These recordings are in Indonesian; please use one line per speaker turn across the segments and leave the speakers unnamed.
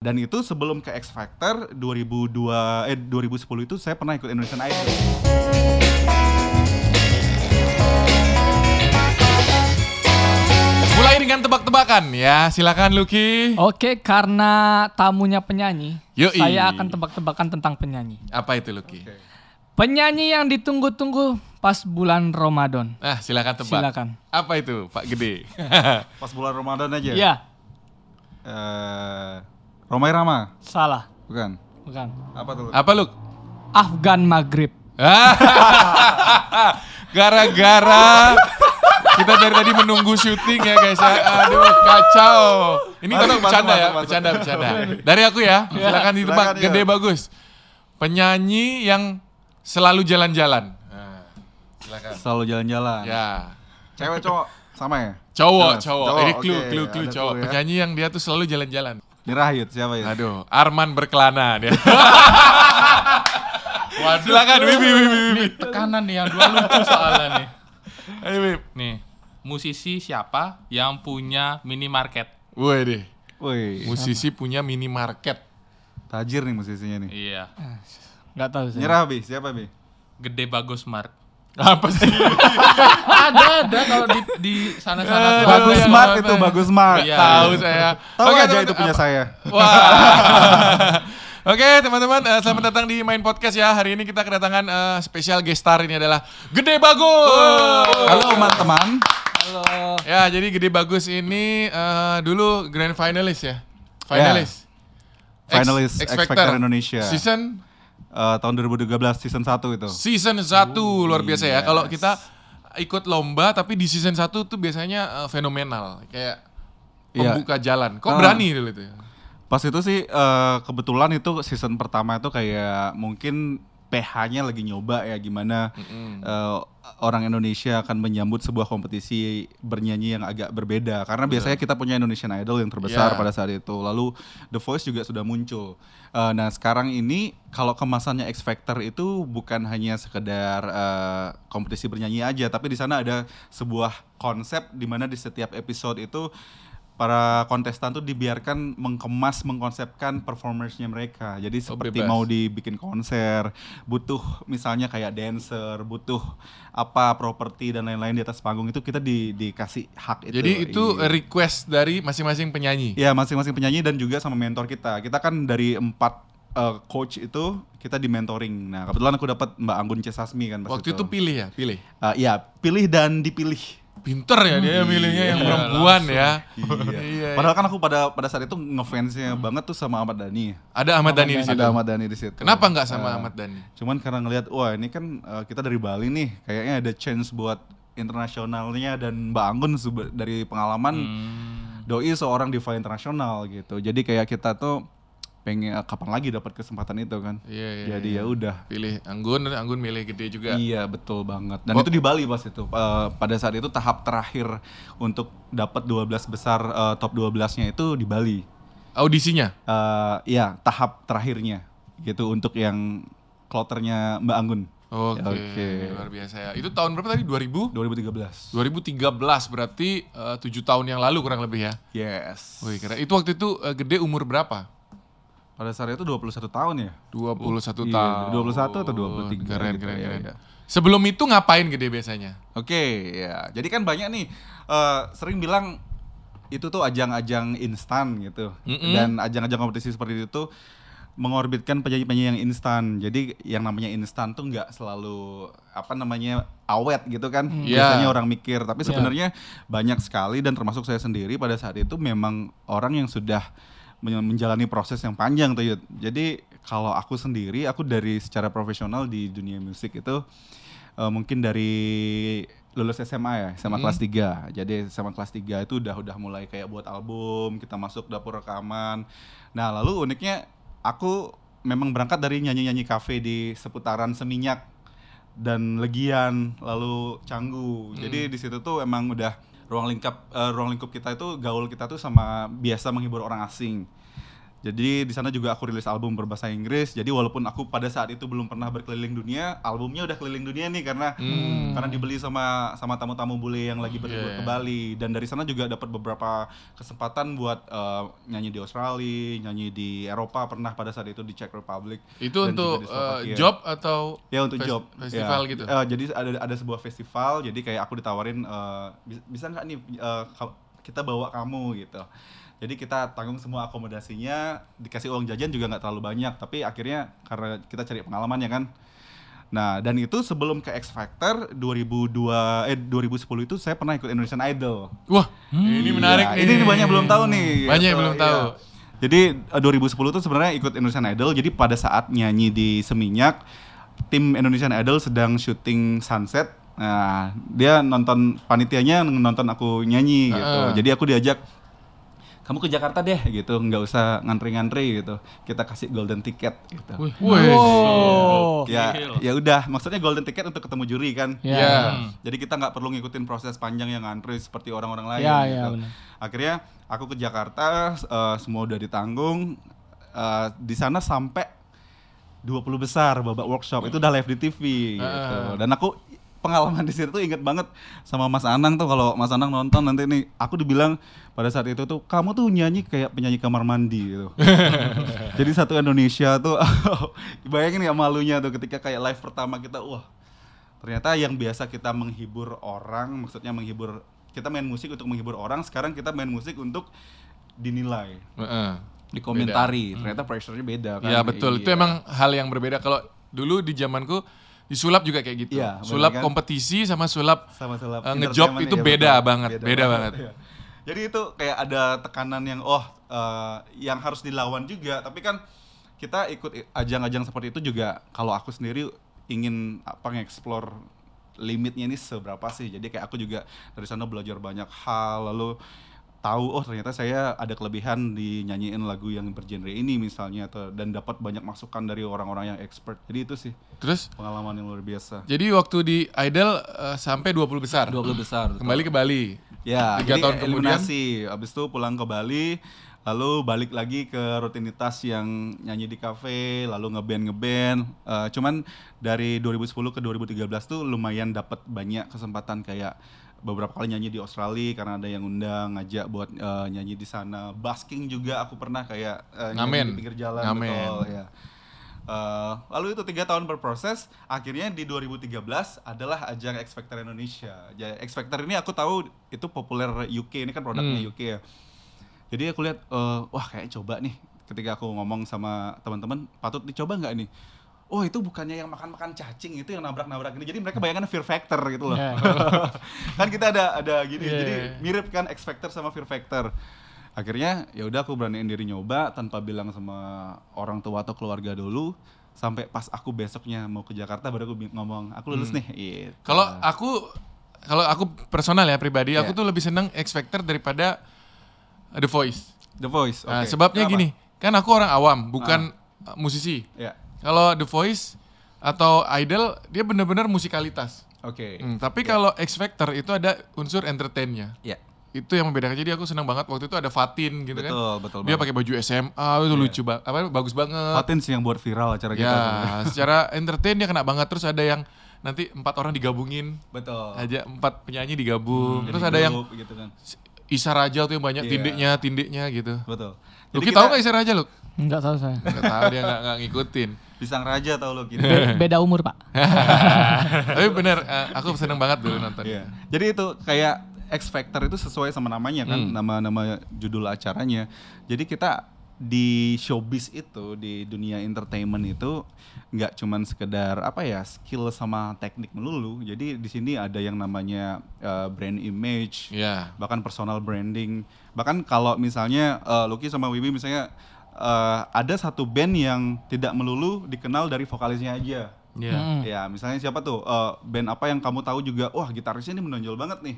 Dan itu sebelum ke X Factor 2002 eh 2010 itu saya pernah ikut Indonesian Idol.
Mulai dengan tebak-tebakan ya. Silakan Lucky.
Oke, karena tamunya penyanyi,
Yoi.
saya akan tebak-tebakan tentang penyanyi.
Apa itu Lucky?
Penyanyi yang ditunggu-tunggu pas bulan Ramadan.
Nah, silakan tebak.
Silakan.
Apa itu, Pak Gede?
Pas bulan Ramadan aja.
Iya,
Eh, Romai Rama,
salah.
bukan?
Bukan.
Apa tuh?
Apa Luk?
Afgan Maghrib.
Gara-gara kita dari tadi menunggu syuting ya guys ya. Aduh kacau. Ini
Masuk,
tapi
masuk, masuk,
bercanda ya,
masuk.
bercanda bercanda. Dari aku ya, silakan ditebak.
Silakan, iya.
Gede bagus. Penyanyi yang selalu jalan-jalan. Nah, silakan.
Selalu jalan-jalan.
Ya.
Iya. Cewek cowok sama ya?
Cowok,
Jelas,
cowok.
cowok,
Ini
oke,
clue, clue, clue
ada
cowok.
clue ya.
Penyanyi yang dia tuh selalu jalan-jalan.
Nirahayut siapa ya?
Aduh, Arman berkelana dia. Waduh. Silakan, Wibi, Wibi, Wibi.
Ini tekanan nih yang dua lucu soalnya nih.
Ayo, Wib.
Nih, musisi siapa yang punya minimarket?
Woi deh,
Woi,
musisi punya minimarket.
tajir nih musisinya nih.
Iya.
Nggak tahu saya.
Nyerah Bi, siapa Bi?
Gede Bagus Mart.
Apa sih?
ada, ada kalau di di sana-sana. tuh.
Aduh,
Bagus
yang
smart
apa
itu,
ya?
bagus smart.
Iya.
Tahu saya.
Tahu
Oke,
aja
teman-
itu punya
apa-
saya.
Wah. Oke teman-teman, eh, selamat datang di Main Podcast ya. Hari ini kita kedatangan eh, spesial guest star ini adalah Gede Bagus.
Halo teman-teman.
Halo.
Ya, jadi Gede Bagus ini eh, dulu grand finalist ya. Finalis. X-
Finalis X Factor Indonesia.
Season
Eh, tahun 2013 season 1 itu.
season 1
Oh,
luar biasa ya. Kalau kita ikut lomba tapi di season 1 tuh biasanya eh, fenomenal kayak
Iya.
pembuka jalan. Kok
Ah.
berani dulu itu? ya?
Pas itu sih eh, kebetulan itu season pertama itu kayak mungkin PH-nya lagi nyoba ya gimana eh, orang Indonesia akan menyambut sebuah kompetisi bernyanyi yang agak berbeda karena biasanya kita punya Indonesian Idol yang terbesar
Iya.
pada saat itu lalu The Voice juga sudah muncul Eh, nah sekarang ini kalau kemasannya X Factor itu bukan hanya sekedar eh, kompetisi bernyanyi aja tapi di sana ada sebuah konsep di mana di setiap episode itu para kontestan tuh dibiarkan mengkemas mengkonsepkan performersnya mereka jadi seperti
Oh, bebas.
mau dibikin konser butuh misalnya kayak dancer butuh apa properti dan lain-lain di atas panggung itu kita di, dikasih hak itu
Jadi itu
Iya.
er- request dari masing-masing penyanyi.
Ya masing-masing penyanyi dan juga sama mentor kita. Kita kan dari empat eh, coach itu kita di mentoring. Nah kebetulan aku dapat Mbak Anggun C Sasmi kan pas
Waktu itu pilih ya, pilih.
Eh, ya pilih dan dipilih.
Pinter ya
Hmm.
dia milihnya yang perempuan ya. Iya. Hmm.
Padahal kan aku pada pada saat itu ngefansnya banget tuh sama Ahmad Dhani.
Ada Ahmad Dhani di situ.
Ada Ah. Ahmad Dhani di situ.
Kenapa nggak sama Ahmad Dhani?
Cuman karena ngelihat wah ini kan eh, kita dari Bali nih, kayaknya ada chance buat internasionalnya dan Mbak Anggun sebe- dari pengalaman
Hmm.
doi seorang diva internasional gitu. Jadi kayak kita tuh pengen eh, kapan lagi dapat kesempatan itu kan.
Iya, iya,
Jadi ya udah.
Pilih Anggun, Anggun milih gede juga.
Iya betul banget. Dan itu di Bali pas itu. Eh, pada saat itu tahap terakhir untuk dapat 12 besar eh, top 12-nya itu di Bali.
Audisinya.
Eh, ya tahap terakhirnya gitu untuk yang kloternya Mbak Anggun
Oke,
Iya, Oke.
luar biasa ya. Itu tahun berapa tadi? 2000?
2013.
2013 berarti eh, tujuh tahun yang lalu kurang lebih ya.
Yes.
Wih, keren. Itu waktu itu eh, gede umur berapa?
Pada saat itu 21 tahun ya?
21
Iya,
tahun.
21 atau 23
Keren,
gitu
keren,
ya,
keren.
iya.
Sebelum itu ngapain gede biasanya?
Oke, ya. Jadi kan banyak nih eh, sering bilang itu tuh ajang-ajang instan gitu. Dan ajang-ajang kompetisi seperti itu mengorbitkan penyanyi-penyanyi yang instan. Jadi yang namanya instan tuh nggak selalu apa namanya awet gitu kan.
Iya.
Biasanya orang mikir, tapi sebenarnya banyak sekali dan termasuk saya sendiri pada saat itu memang orang yang sudah men- menjalani proses yang panjang tuh Yud. Jadi kalau aku sendiri aku dari secara profesional di dunia musik itu eh, mungkin dari lulus SMA ya, SMA
Hmm.
kelas 3. Jadi SMA kelas 3 itu udah udah mulai kayak buat album, kita masuk dapur rekaman. Nah, lalu uniknya aku memang berangkat dari nyanyi-nyanyi kafe di seputaran Seminyak dan Legian, lalu Canggu. Jadi
Hmm.
di situ tuh emang udah ruang lingkup eh, ruang lingkup kita itu gaul kita tuh sama biasa menghibur orang asing. Jadi di sana juga aku rilis album berbahasa Inggris. Jadi walaupun aku pada saat itu belum pernah berkeliling dunia, albumnya udah keliling dunia nih karena
Hmm.
karena dibeli sama sama tamu-tamu bule yang lagi
Iya,
berlibur ke Bali. Dan dari sana juga dapat beberapa kesempatan buat eh, nyanyi di Australia, nyanyi di Eropa pernah pada saat itu di Czech Republic. dan juga
Itu untuk
di
eh,
Slovakia.
job atau
Ya untuk
fes-
job
festival
Ya.
gitu.
Eh, jadi ada ada sebuah festival, jadi kayak aku ditawarin eh, "Bis- bisa nggak nih eh, ka- kita bawa kamu gitu. Jadi kita tanggung semua akomodasinya, dikasih uang jajan juga nggak terlalu banyak, tapi akhirnya karena kita cari pengalaman ya kan. Nah, dan itu sebelum ke X Factor 2002 eh 2010 itu saya pernah ikut Indonesian Idol.
Wah, ini
Iya,
menarik nih.
Ini banyak belum tahu nih.
Banyak yang belum tahu.
iya. Jadi eh, 2010 tuh sebenarnya ikut Indonesian Idol. Jadi pada saat nyanyi di Seminyak, tim Indonesian Idol sedang syuting Sunset. Nah, dia nonton panitianya nonton aku nyanyi gitu.
Heeh.
Jadi aku diajak kamu ke Jakarta deh gitu, nggak usah ngantri-ngantri gitu. Kita kasih golden ticket gitu.
Wih.
Wih.
Oh.
Ya,
Gokil.
ya udah. Maksudnya golden ticket untuk ketemu juri kan.
Ya.
Ya.
Jadi kita nggak perlu ngikutin proses panjang yang antri seperti orang-orang lain.
Ya,
gitu.
ya, benar.
Akhirnya aku ke Jakarta, eh, semua udah ditanggung. Eh, di sana sampai 20 besar babak workshop itu udah live di TV. Gitu. Dan aku pengalaman di situ tuh inget banget sama Mas Anang tuh kalau Mas Anang nonton nanti nih aku dibilang pada saat itu tuh kamu tuh nyanyi kayak penyanyi kamar mandi gitu. Jadi satu Indonesia tuh bayangin nggak malunya tuh ketika kayak live pertama kita wah ternyata yang biasa kita menghibur orang maksudnya menghibur kita main musik untuk menghibur orang sekarang kita main musik untuk dinilai
Heeh.
dikomentari ternyata pressure-nya beda kan
Ya betul. Itu
Iya.
emang hal yang berbeda kalau dulu di zamanku disulap juga kayak gitu.
Iya, benar
sulap
kan?
kompetisi sama sulap
sama sulap
Eh, ngejob
entertainment,
itu
iya,
beda
betul.
banget, beda banget.
iya. Jadi itu kayak ada tekanan yang oh eh, yang harus dilawan juga, tapi kan kita ikut i- ajang-ajang seperti itu juga kalau aku sendiri ingin apa nge-explore limitnya ini seberapa sih. Jadi kayak aku juga dari sana belajar banyak hal lalu tahu oh ternyata saya ada kelebihan di nyanyiin lagu yang bergenre ini misalnya atau dan dapat banyak masukan dari orang-orang yang expert. Jadi itu sih
terus
pengalaman yang luar biasa.
jadi waktu di Idol eh, sampai 20 besar.
20 besar. betul.
Kembali ke Bali.
Ya,
Tiga
jadi
tahun
eliminasi. Abis itu pulang ke Bali, lalu balik lagi ke rutinitas yang nyanyi di kafe, lalu ngeband ngeband. Eh, cuman dari 2010 ke 2013 tuh lumayan dapat banyak kesempatan kayak beberapa kali nyanyi di Australia karena ada yang undang ngajak buat eh, nyanyi di sana. Basking juga aku pernah kayak eh, nyanyi
Ngamen.
di pinggir jalan
Ngamen.
betul, ya. Eh, lalu itu tiga tahun berproses, akhirnya di 2013 adalah ajang X Factor Indonesia. Ya, X Factor ini aku tahu itu populer UK, ini kan produknya
Hmm.
UK ya. Jadi aku lihat, eh, wah kayak coba nih. Ketika aku ngomong sama teman-teman, patut dicoba nggak nih? Oh itu bukannya yang makan-makan cacing itu yang nabrak-nabrak ini. Jadi mereka bayangkan Fear Factor gitu loh.
Ya.
kan kita ada ada gini.
Iya,
Jadi
iya, iya.
mirip kan X Factor sama Fear Factor. Akhirnya ya udah aku beraniin diri nyoba tanpa bilang sama orang tua atau keluarga dulu sampai pas aku besoknya mau ke Jakarta baru aku bi- ngomong aku lulus
Hmm.
nih. Gitu.
Kalau aku kalau aku personal ya pribadi, aku tuh lebih seneng X Factor daripada The Voice.
The Voice.
Nah,
oke.
sebabnya
Kenapa?
gini, kan aku orang awam, bukan eh, musisi.
Ya.
Kalau The Voice atau Idol, dia benar-benar musikalitas.
Oke.
Hmm, tapi kalau X Factor itu ada unsur entertainnya.
Ya.
Itu yang membedakan. Jadi aku senang banget waktu itu ada Fatin gitu Iya kan.
Betul, betul
Dia
banget. Iya.
pakai baju SMA itu lucu banget. Apa bagus banget.
Fatin sih yang buat viral acara kita. sebenarnya.
Ya, secara entertain dia kena banget. Terus ada yang nanti empat orang digabungin
Betul.
aja empat penyanyi
Oh. Hmm,
digabung.
Jadi
Terus ada yang
grup gitu kan.
Isa Raja tuh yang banyak
Iya.
tindiknya, tindiknya gitu.
Betul.
Lu
Jadi
tahu nggak Isa Raja lu?
Enggak tahu saya.
Gak tahu dia nggak nggak ngikutin.
Pisang Raja tau lo
Iya.
gitu.
Be- Beda umur, Pak.
Tapi bener, eh, aku seneng banget dulu nonton.
Iya. Jadi itu kayak X Factor itu sesuai sama namanya kan,
Hmm.
nama-nama judul acaranya. Jadi kita di showbiz itu di dunia entertainment itu nggak cuman sekedar apa ya skill sama teknik melulu. Jadi di sini ada yang namanya eh, brand image,
Iya.
bahkan personal branding. Bahkan kalau misalnya eh, Lucky sama Wibi misalnya eh, ada satu band yang tidak melulu dikenal dari vokalisnya aja.
Iya.
Ya, misalnya siapa tuh eh, band apa yang kamu tahu juga, wah gitarisnya ini menonjol banget nih.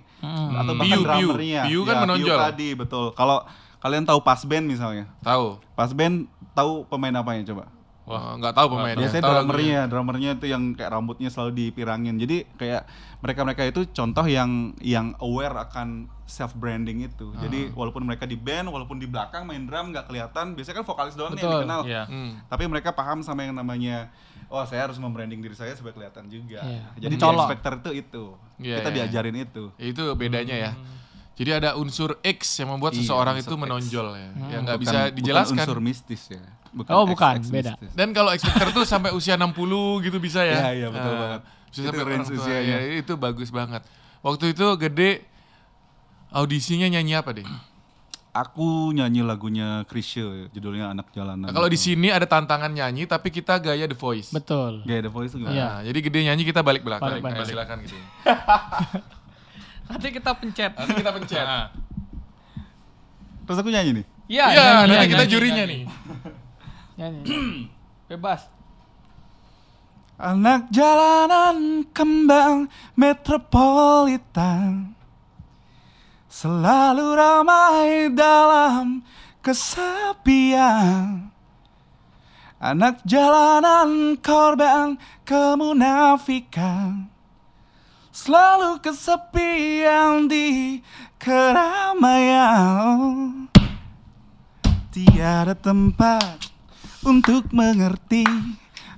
Atau bahkan
Piu, Piu.
drummernya.
Piu kan
Ya,
menonjol.
tadi, betul. Kalau kalian tahu pas band misalnya,
Tahu.
pas band tahu pemain apanya coba?
Wah, nggak tahu pemainnya.
Biasanya
Tahu
drummernya, drummernya itu yang kayak rambutnya selalu dipirangin. Jadi kayak mereka-mereka itu contoh yang yang aware akan self branding itu. Jadi walaupun mereka di band, walagun di belakang main drum nggak kelihatan. Biasanya kan vokalis doang nih yang
Betul.
dikenal.
Iya.
Hmm.
Tapi mereka paham sama yang namanya oh saya harus membranding diri saya supaya kelihatan juga.
Iya.
Jadi
Mencolok.
colok factor itu itu.
Iya,
Kita
iya.
diajarin itu.
Itu bedanya ya. Jadi ada unsur X yang membuat
Hmm. Iya,
seseorang
unsur
itu
X. Hmm.
menonjol ya, yang nggak
Bukan-
bisa dijelaskan.
Bukan unsur mistis ya.
Oh, bukan,
XX
beda.
mistis.
Dan kalau X Factor tuh sampai usia 60 gitu bisa
Iya,
ya.
iya, betul banget.
Bisa
Itu
sampai
range iya.
orang tua.
usianya.
Ya, itu bagus banget. Waktu itu gede audisinya nyanyi apa deh?
Aku nyanyi lagunya Chrisye judulnya Anak Jalanan.
Nah, kalau di sini ada tantangan nyanyi tapi kita gaya The Voice.
Betul.
Gak ada voice gimana?
Iya.
Nah, jadi gede nyanyi kita balik belakang.
Balik belakang.
Eh, silakan gitu.
Nanti kita pencet.
Nanti kita pencet.
Ah.
Terus aku nyanyi nih.
Iya,
Iya,
nyanyi,
nanti
nyanyi,
kita
nyanyi,
jurinya
nyanyi.
nih.
Nyanyi, nyanyi. Bebas.
Anak jalanan kembang metropolitan Selalu ramai dalam kesepian Anak jalanan korban kemunafikan Selalu kesepian di keramaian Tiada tempat untuk mengerti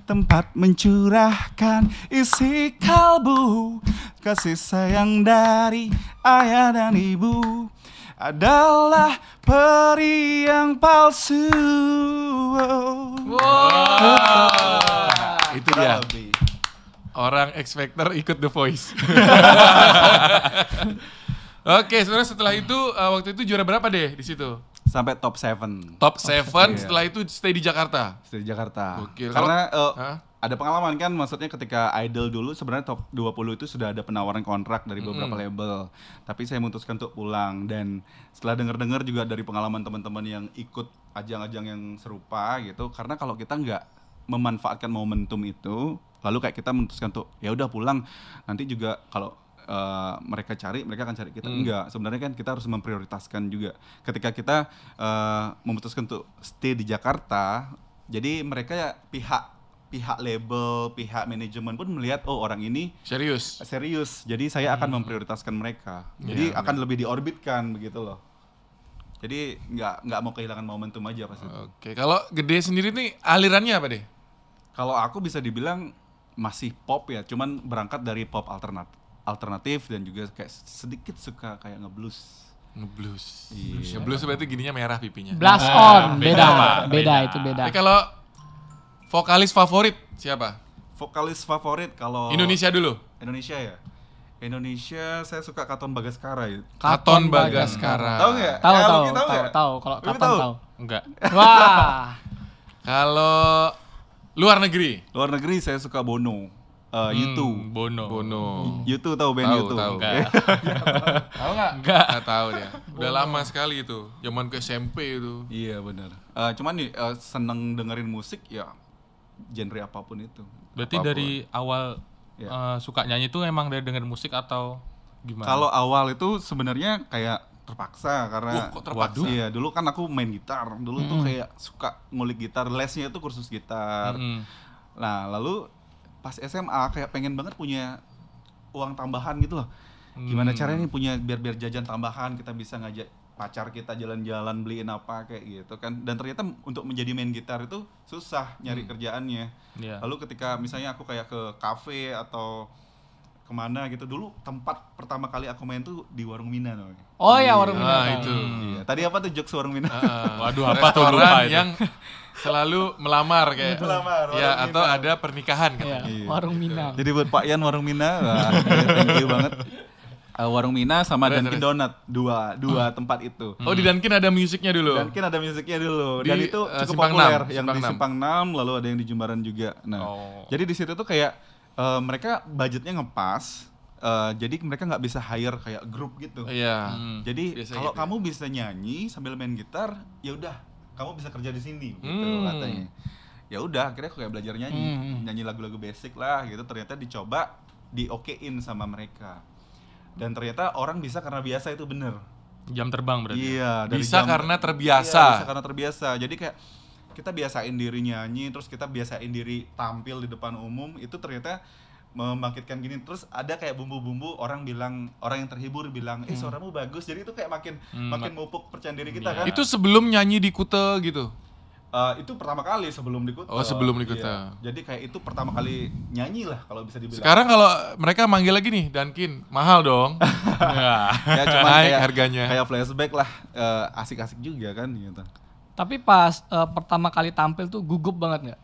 Tempat mencurahkan isi kalbu Kasih sayang dari ayah dan ibu Adalah peri yang palsu Ah,
Itu
Iya.
dia. Orang X Factor ikut The Voice. Oke, sebenarnya setelah itu eh, waktu itu juara berapa deh di situ?
Sampai top 7
Top 7,
iya.
setelah itu stay di Jakarta.
di Jakarta.
Gokil.
Karena eh,
Hah?
ada pengalaman kan maksudnya ketika idol dulu sebenarnya top 20 itu sudah ada penawaran kontrak dari beberapa label. Tapi saya memutuskan untuk pulang dan setelah dengar-dengar juga dari pengalaman teman-teman yang ikut ajang-ajang yang serupa gitu karena kalau kita nggak memanfaatkan momentum itu lalu kayak kita memutuskan untuk ya udah pulang nanti juga kalau eh, mereka cari mereka akan cari kita
Mm.
enggak sebenarnya kan kita harus memprioritaskan juga ketika kita eh, memutuskan untuk stay di Jakarta jadi mereka ya pihak pihak label, pihak manajemen pun melihat oh orang ini
Serius.
serius. Jadi saya
Hmm.
akan memprioritaskan mereka.
Iya,
Jadi akan lebih diorbitkan begitu loh. Jadi nggak nggak mau kehilangan momentum aja pas
Eh.
itu.
Oke, kalau gede sendiri nih alirannya apa deh?
Kalau aku bisa dibilang masih pop ya, cuman berangkat dari pop alternatif alternatif dan juga kayak sedikit suka kayak ngeblues.
Ngeblues.
Iya.
Ngeblues berarti gininya merah pipinya.
Blast
Ah,
on,
beda,
beda,
Pak.
beda,
Beda.
itu beda.
Tapi kan kalau vokalis favorit siapa?
Vokalis favorit
Oh.
kalau
Indonesia dulu.
Indonesia ya. Indonesia saya suka Katon Bagaskara ya.
Katon
Katon
Bagaskara.
Tahu nggak?
Tahu,
Eh,
tahu,
Lucky
tahu,
nggak?
tahu. Kalau
Lucky
kapan tahu?
Enggak.
Wah,
Kalau luar negeri?
Luar negeri saya suka Bono, uh, U2.
Hmm, Bono.
Bono.
U2 tahu band Iya.
Tahu,
U2?
tahu.
Enggak.
Tahu nggak? Nggak tahu dia. Udah
Oh,
lama sekali itu. Zaman ke SMP itu.
Iya benar. Eh, cuman nih eh, seneng dengerin musik ya genre apapun itu.
Berarti
Apapun.
dari awal
Ya.
eh, suka nyanyi itu emang dari denger musik atau gimana?
kalau awal itu sebenarnya kayak terpaksa karena
Wah, kok
Waduh.
terpaksa?
Iya, dulu kan aku main gitar. Dulu tuh kayak suka ngulik gitar, lesnya itu kursus gitar.
Mm.
Nah, lalu pas SMA kayak pengen banget punya uang tambahan gitu loh. Gimana
Mm.
caranya nih punya biar-biar jajan tambahan, kita bisa ngajak pacar kita jalan-jalan beliin apa kayak gitu kan. Dan ternyata untuk menjadi main gitar itu susah
Mm.
nyari kerjaannya.
Iya.
Lalu ketika misalnya aku kayak ke kafe atau kemana gitu dulu tempat pertama kali aku main tuh di warung Mina namanya.
oh ya warung
Nah,
binatang.
itu.
Iya, Tadi apa tuh jokes warung Mina?
Ah,
Waduh, apa tuh
restoran
lupa itu.
yang selalu melamar kayak.
Melamar,
Ya,
orang
atau
minang.
ada pernikahan kan.
Iya,
katanya.
Iya.
warung
ah.
minang.
Jadi buat Pak Ian warung Mina, wah, thank you banget. Eh, warung Mina sama
Terus,
Dunkin
terus.
Donut dua dua tempat itu.
Hmm.
Oh, di Dunkin ada musiknya dulu.
Dunkin ada musiknya dulu
Di,
dan itu
eh,
cukup
Simpang
populer
Enam,
yang
Simpang
di
Enam.
Simpang 6 lalu ada yang di Jembaran juga. Nah,
Oh.
jadi di situ tuh kayak eh, mereka budgetnya ngepas, eh, jadi mereka nggak bisa hire kayak grup gitu.
Iya.
Hmm.
Jadi
biasanya
kalau
gitu ya.
kamu bisa nyanyi sambil main gitar, ya udah kamu bisa kerja di sini gitu
Hmm.
katanya. Ya udah akhirnya aku kayak belajar nyanyi, nyanyi lagu-lagu basic lah gitu. Ternyata dicoba diokein sama mereka. Dan ternyata orang bisa karena biasa itu bener.
Jam terbang berarti.
Iya, dari
Bisa
jam-
karena terbiasa.
Iya, bisa karena terbiasa. Jadi kayak kita biasain diri nyanyi terus kita biasain diri tampil di depan umum itu ternyata membangkitkan gini terus ada kayak bumbu-bumbu orang bilang orang yang terhibur bilang
Hmm.
eh suaramu bagus jadi itu kayak makin
Hmm,
makin
mak-
mupuk percaya diri kita
Iya.
kan
Itu sebelum nyanyi di Kute gitu.
Eh, itu pertama kali sebelum di Kuta.
Oh, sebelum di
Iya.
Kuta.
jadi kayak itu pertama kali nyanyi lah kalau bisa dibilang
Sekarang kalau mereka manggil lagi nih Dankin, mahal dong. ya,
ya cuman
naik
kayak
harganya.
kayak flashback lah eh, asik-asik juga kan gitu
Tapi pas eh, pertama kali tampil tuh gugup banget nggak?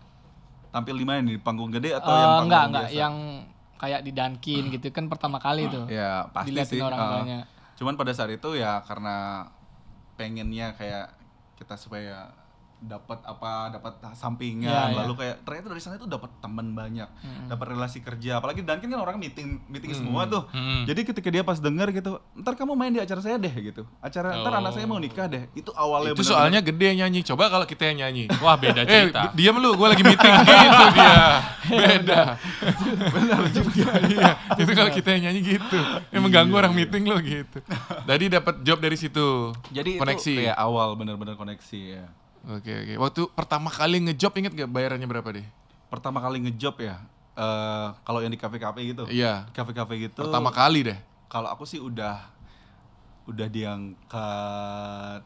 tampil di mana nih di panggung gede atau yang
Eh,
panggung
Nggak nggak
biasa?
yang kayak di Dunkin gitu kan pertama kali tuh.
ya pasti
Diliatin
sih
orang
eh,
banyak.
cuman pada saat itu ya karena pengennya kayak kita supaya dapat apa dapat sampingan
Iya, iya.
lalu kayak ternyata dari sana itu dapat teman banyak dapat relasi kerja apalagi dan kan orang meeting meeting semua tuh
Mm-mm.
jadi ketika dia pas dengar gitu ntar kamu main di acara saya deh gitu acara ntar anak saya mau nikah deh itu awalnya
Itu
bener-bener-
soalnya gede yang nyanyi. Coba kalau kita yang nyanyi.
Wah beda
Eh,
cerita.
diam lu, gue lagi meeting gitu dia. Beda.
bener juga Iya,
iya, itu kalau kita yang nyanyi gitu. Ini mengganggu orang meeting lo gitu. Tadi dapat job dari situ.
jadi
koneksi.
koneksi itu kayak awal bener-bener koneksi ya
Oke, oke. Waktu pertama kali ngejob inget gak bayarannya berapa deh?
pertama kali ngejob ya eh kalau yang di kafe-kafe gitu
Iya.
kafe-kafe gitu
Pertama kali deh.
kalau aku sih udah udah di angka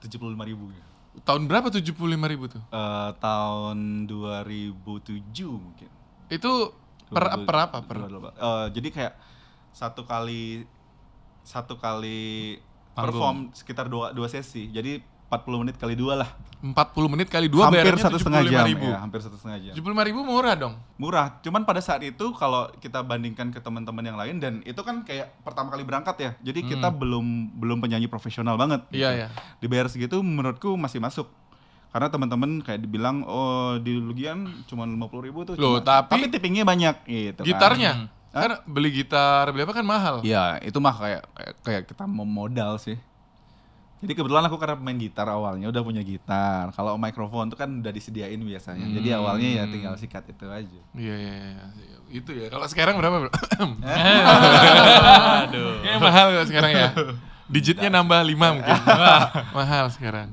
75 ribu ya.
Tahun berapa 75 ribu tuh?
Eh, tahun 2007 mungkin.
Itu per, per apa? Per,
2008. Eh, jadi kayak satu kali satu kali
Panggung.
perform sekitar dua, dua sesi. Jadi 40 menit kali dua lah.
40 menit kali 2
hampir
bayarannya
satu setengah
75
jam.
ribu.
Ya, hampir satu setengah jam.
75 ribu murah dong.
Murah. Cuman pada saat itu kalau kita bandingkan ke teman-teman yang lain dan itu kan kayak pertama kali berangkat ya. Jadi kita belum belum penyanyi profesional banget.
Hmm. Iya,
gitu.
iya.
dibayar segitu menurutku masih masuk karena teman-teman kayak dibilang oh di Lugian cuma lima puluh ribu tuh cuma-
Loh, tapi-
tippingnya banyak gitu kan.
Gitarnya? Kan beli gitar, beli apa kan mahal.
ya itu mah kayak kayak, kayak kita mau modal sih jadi kebetulan aku karena main gitar awalnya udah punya gitar kalau mikrofon tuh kan udah disediain biasanya jadi
Hmm.
awalnya ya tinggal sikat itu aja
Iya, iya, iya. Itu ya. Kalau sekarang berapa, Bro?
Aduh.
Kayaknya mahal kalau sekarang ya. Digitnya nambah 5 mungkin. Wah, mahal sekarang.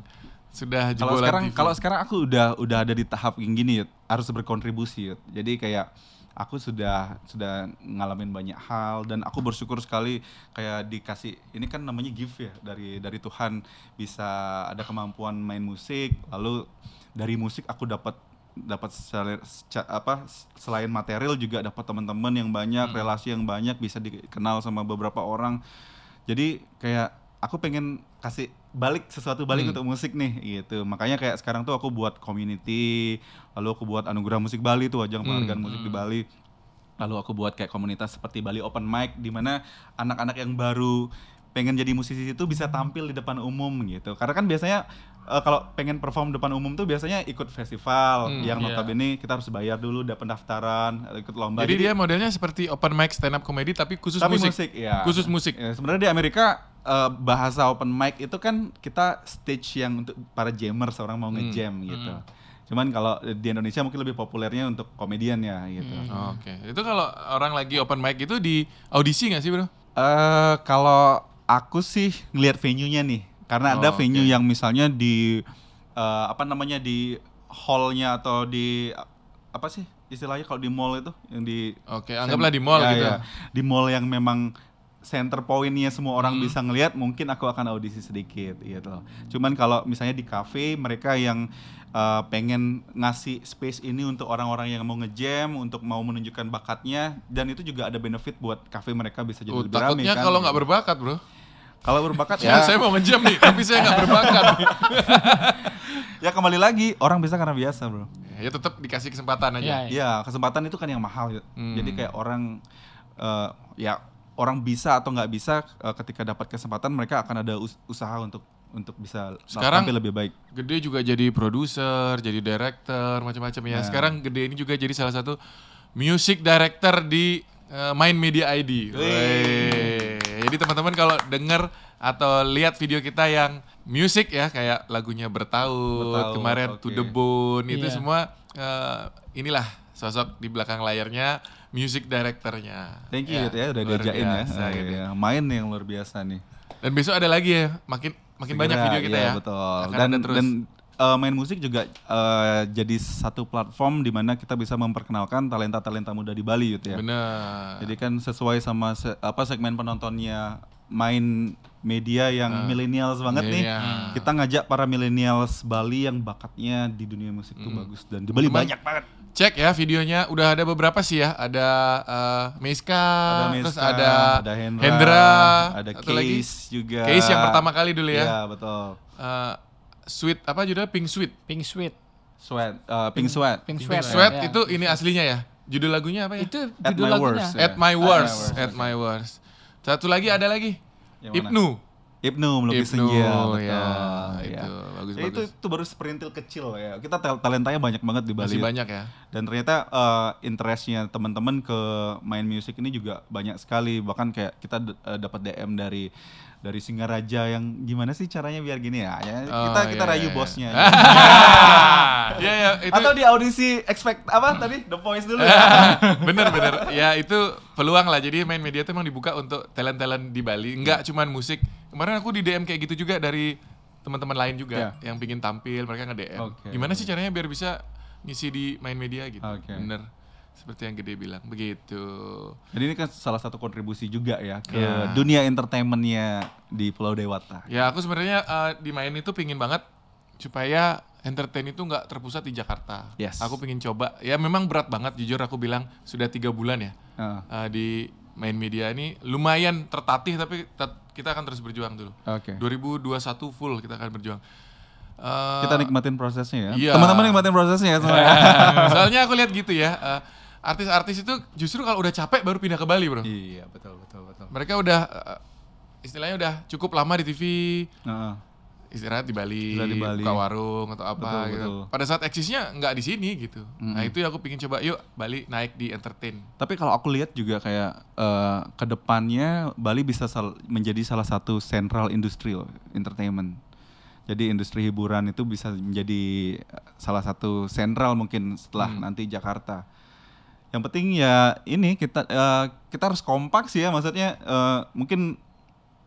Sudah
kalau
jebolan
sekarang
TV.
kalau sekarang aku udah udah ada di tahap yang gini Yud. harus berkontribusi Yud. jadi kayak aku sudah sudah ngalamin banyak hal dan aku bersyukur sekali kayak dikasih ini kan namanya gift ya dari dari Tuhan bisa ada kemampuan main musik lalu dari musik aku dapat dapat sel- sca- apa selain material juga dapat teman-teman yang banyak relasi yang banyak bisa dikenal sama beberapa orang jadi kayak aku pengen kasih balik sesuatu balik
Hmm.
untuk musik nih gitu makanya kayak sekarang tuh aku buat community lalu aku buat anugerah musik Bali tuh ajang
Hmm,
penghargaan musik di Bali lalu aku buat kayak komunitas seperti Bali Open Mic di mana anak-anak yang baru pengen jadi musisi itu bisa tampil di depan umum gitu karena kan biasanya eh, kalau pengen perform depan umum tuh biasanya ikut festival
Hmm,
yang
iya.
notabene kita harus bayar dulu udah pendaftaran ikut lomba
Jadi dia modelnya seperti open mic stand up comedy tapi khusus
tapi
musik.
musik, ya
Khusus musik.
Ya, sebenarnya di Amerika eh, bahasa open mic itu kan kita stage yang untuk para jammers orang mau ngejam gitu. Cuman kalau di Indonesia mungkin lebih populernya untuk komedian ya gitu.
Oke. Itu kalau orang lagi open mic itu di audisi nggak sih, Bro?
Eh, kalau aku sih ngelihat venue-nya nih, karena ada
Oh,
venue yang misalnya di eh, apa namanya di hall-nya atau di apa sih istilahnya kalau di mall itu yang di
Oke, anggaplah di mall
Ya,
gitu.
ya. Di mall yang memang center pointnya semua orang
Hmm.
bisa ngelihat, mungkin aku akan audisi sedikit gitu loh. Cuman kalau misalnya di cafe mereka yang uh, pengen ngasih space ini untuk orang-orang yang mau ngejam, untuk mau menunjukkan bakatnya dan itu juga ada benefit buat cafe mereka bisa jadi
Oh,
lebih ramai
takutnya
kan.
kalau nggak berbakat, Bro.
Kalau berbakat ya,
Ya. saya mau ngejam nih, tapi saya nggak berbakat.
ya kembali lagi orang bisa karena biasa, Bro.
ya tetap dikasih kesempatan aja.
Iya,
Iya, kesempatan itu kan yang mahal. ya. Jadi
Hmm.
kayak orang eh, ya orang bisa atau nggak bisa eh, ketika dapat kesempatan mereka akan ada us- usaha untuk untuk bisa
Sekarang-
tampil lebih baik.
Gede juga jadi produser, jadi director, macam-macam
Nah.
ya. Sekarang Gede ini juga jadi salah satu music director di eh, Main Media ID. Wey. Jadi teman-teman kalau denger atau lihat video kita yang music ya kayak lagunya bertaut,
Bertaut,
kemarin
oke.
To The Bone itu
Iya.
semua eh, inilah sosok di belakang layarnya music directornya.
Thank you Yud, ya, udah
luar
diajain ya.
biasa, gitu
Eh,
Gede.
iya, Main yang luar biasa nih.
Dan besok ada lagi ya, makin makin banyak
Segera,
video kita
iya,
ya.
Betul.
Akan
Dan
ada terus.
dan eh, main musik juga eh, jadi satu platform di mana kita bisa memperkenalkan talenta-talenta muda di Bali gitu ya.
Bener.
Jadi kan sesuai sama se- apa segmen penontonnya main media
Ah.
yang millennials banget nih.
Millennial.
Kita ngajak para millennials Bali yang bakatnya di dunia musik tuh bagus dan di Bali
Hmm. Cuman-
banyak banget.
Cek ya videonya, udah ada beberapa sih ya. Ada eh, Meiska,
Ada
Ah, terus
Meska,
ada,
ada Hendra, ada
satu lagi.
Case juga.
Case yang pertama kali dulu ya.
Iya, betul.
Eh, sweet apa judulnya? Pink Sweet.
Pink Sweat.
Sweat, eh, Pink Sweat.
Pink
Pink
Sweat.
Sweat
ya.
itu ini aslinya ya. Judul lagunya apa ya?
itu
At
judul
My
lagunya.
Worst, ya.
At my
At My
worst,
Worst.
at my worst. Satu lagi ada lagi.
Yang mana?
Ibnu.
Ibnu melukis
Ibnu,
senja, betul.
ya,
ya.
itu, bagus,
Ya, itu
bagus.
itu baru seperintil kecil ya. Kita tel- talentanya banyak banget di Bali.
Masih banyak ya.
Dan ternyata eh, interestnya teman-teman ke main musik ini juga banyak sekali. Bahkan kayak kita d- eh, dapat DM dari dari Singaraja yang gimana sih caranya biar gini ya? Ya, kita
Oh,
kita
iya,
rayu
iya,
bosnya. Gitu.
iya. Iya ya itu
Atau di audisi expect apa tadi The Voice dulu ya.
bener bener ya itu peluang lah jadi main media itu emang dibuka untuk talent talent di Bali
Iya.
nggak cuman musik kemarin aku di DM kayak gitu juga dari teman-teman lain juga yang pingin tampil mereka nge DM
Iya. Oke.
gimana sih caranya biar bisa ngisi di main media gitu
Oke.
bener seperti yang gede bilang begitu
Jadi ini kan salah satu kontribusi juga ya ke
Ya.
dunia entertainmentnya di Pulau Dewata.
ya aku sebenarnya eh, di main itu pingin banget supaya entertain itu nggak terpusat di Jakarta
Yes.
aku pingin coba ya memang berat banget jujur aku bilang sudah tiga bulan ya
Ah,
Uh, di main media ini lumayan tertatih tapi tet- kita akan terus berjuang dulu.
Oke.
2021 full kita akan berjuang. Uh,
Kita nikmatin prosesnya ya.
Iya.
Teman-teman nikmatin prosesnya ya semuanya.
soalnya aku lihat gitu ya, uh, artis-artis itu justru kalau udah capek baru pindah ke Bali, Bro.
iya, betul betul betul.
Mereka udah uh, istilahnya udah cukup lama di TV,
Heeh.
istirahat di Bali,
Istirahat di Bali.
buka warung atau
Betul,
apa gitu.
betul.
Pada saat eksisnya nggak di sini gitu. Nah, itu yang aku pingin coba, yuk Bali naik di entertain.
Tapi kalau aku lihat juga kayak eh, ke depannya Bali bisa sal- menjadi salah satu sentral industri loh, entertainment. Jadi industri hiburan itu bisa menjadi eh, salah satu sentral mungkin setelah nanti Jakarta. Yang penting ya ini kita eh, kita harus kompak sih ya maksudnya eh, mungkin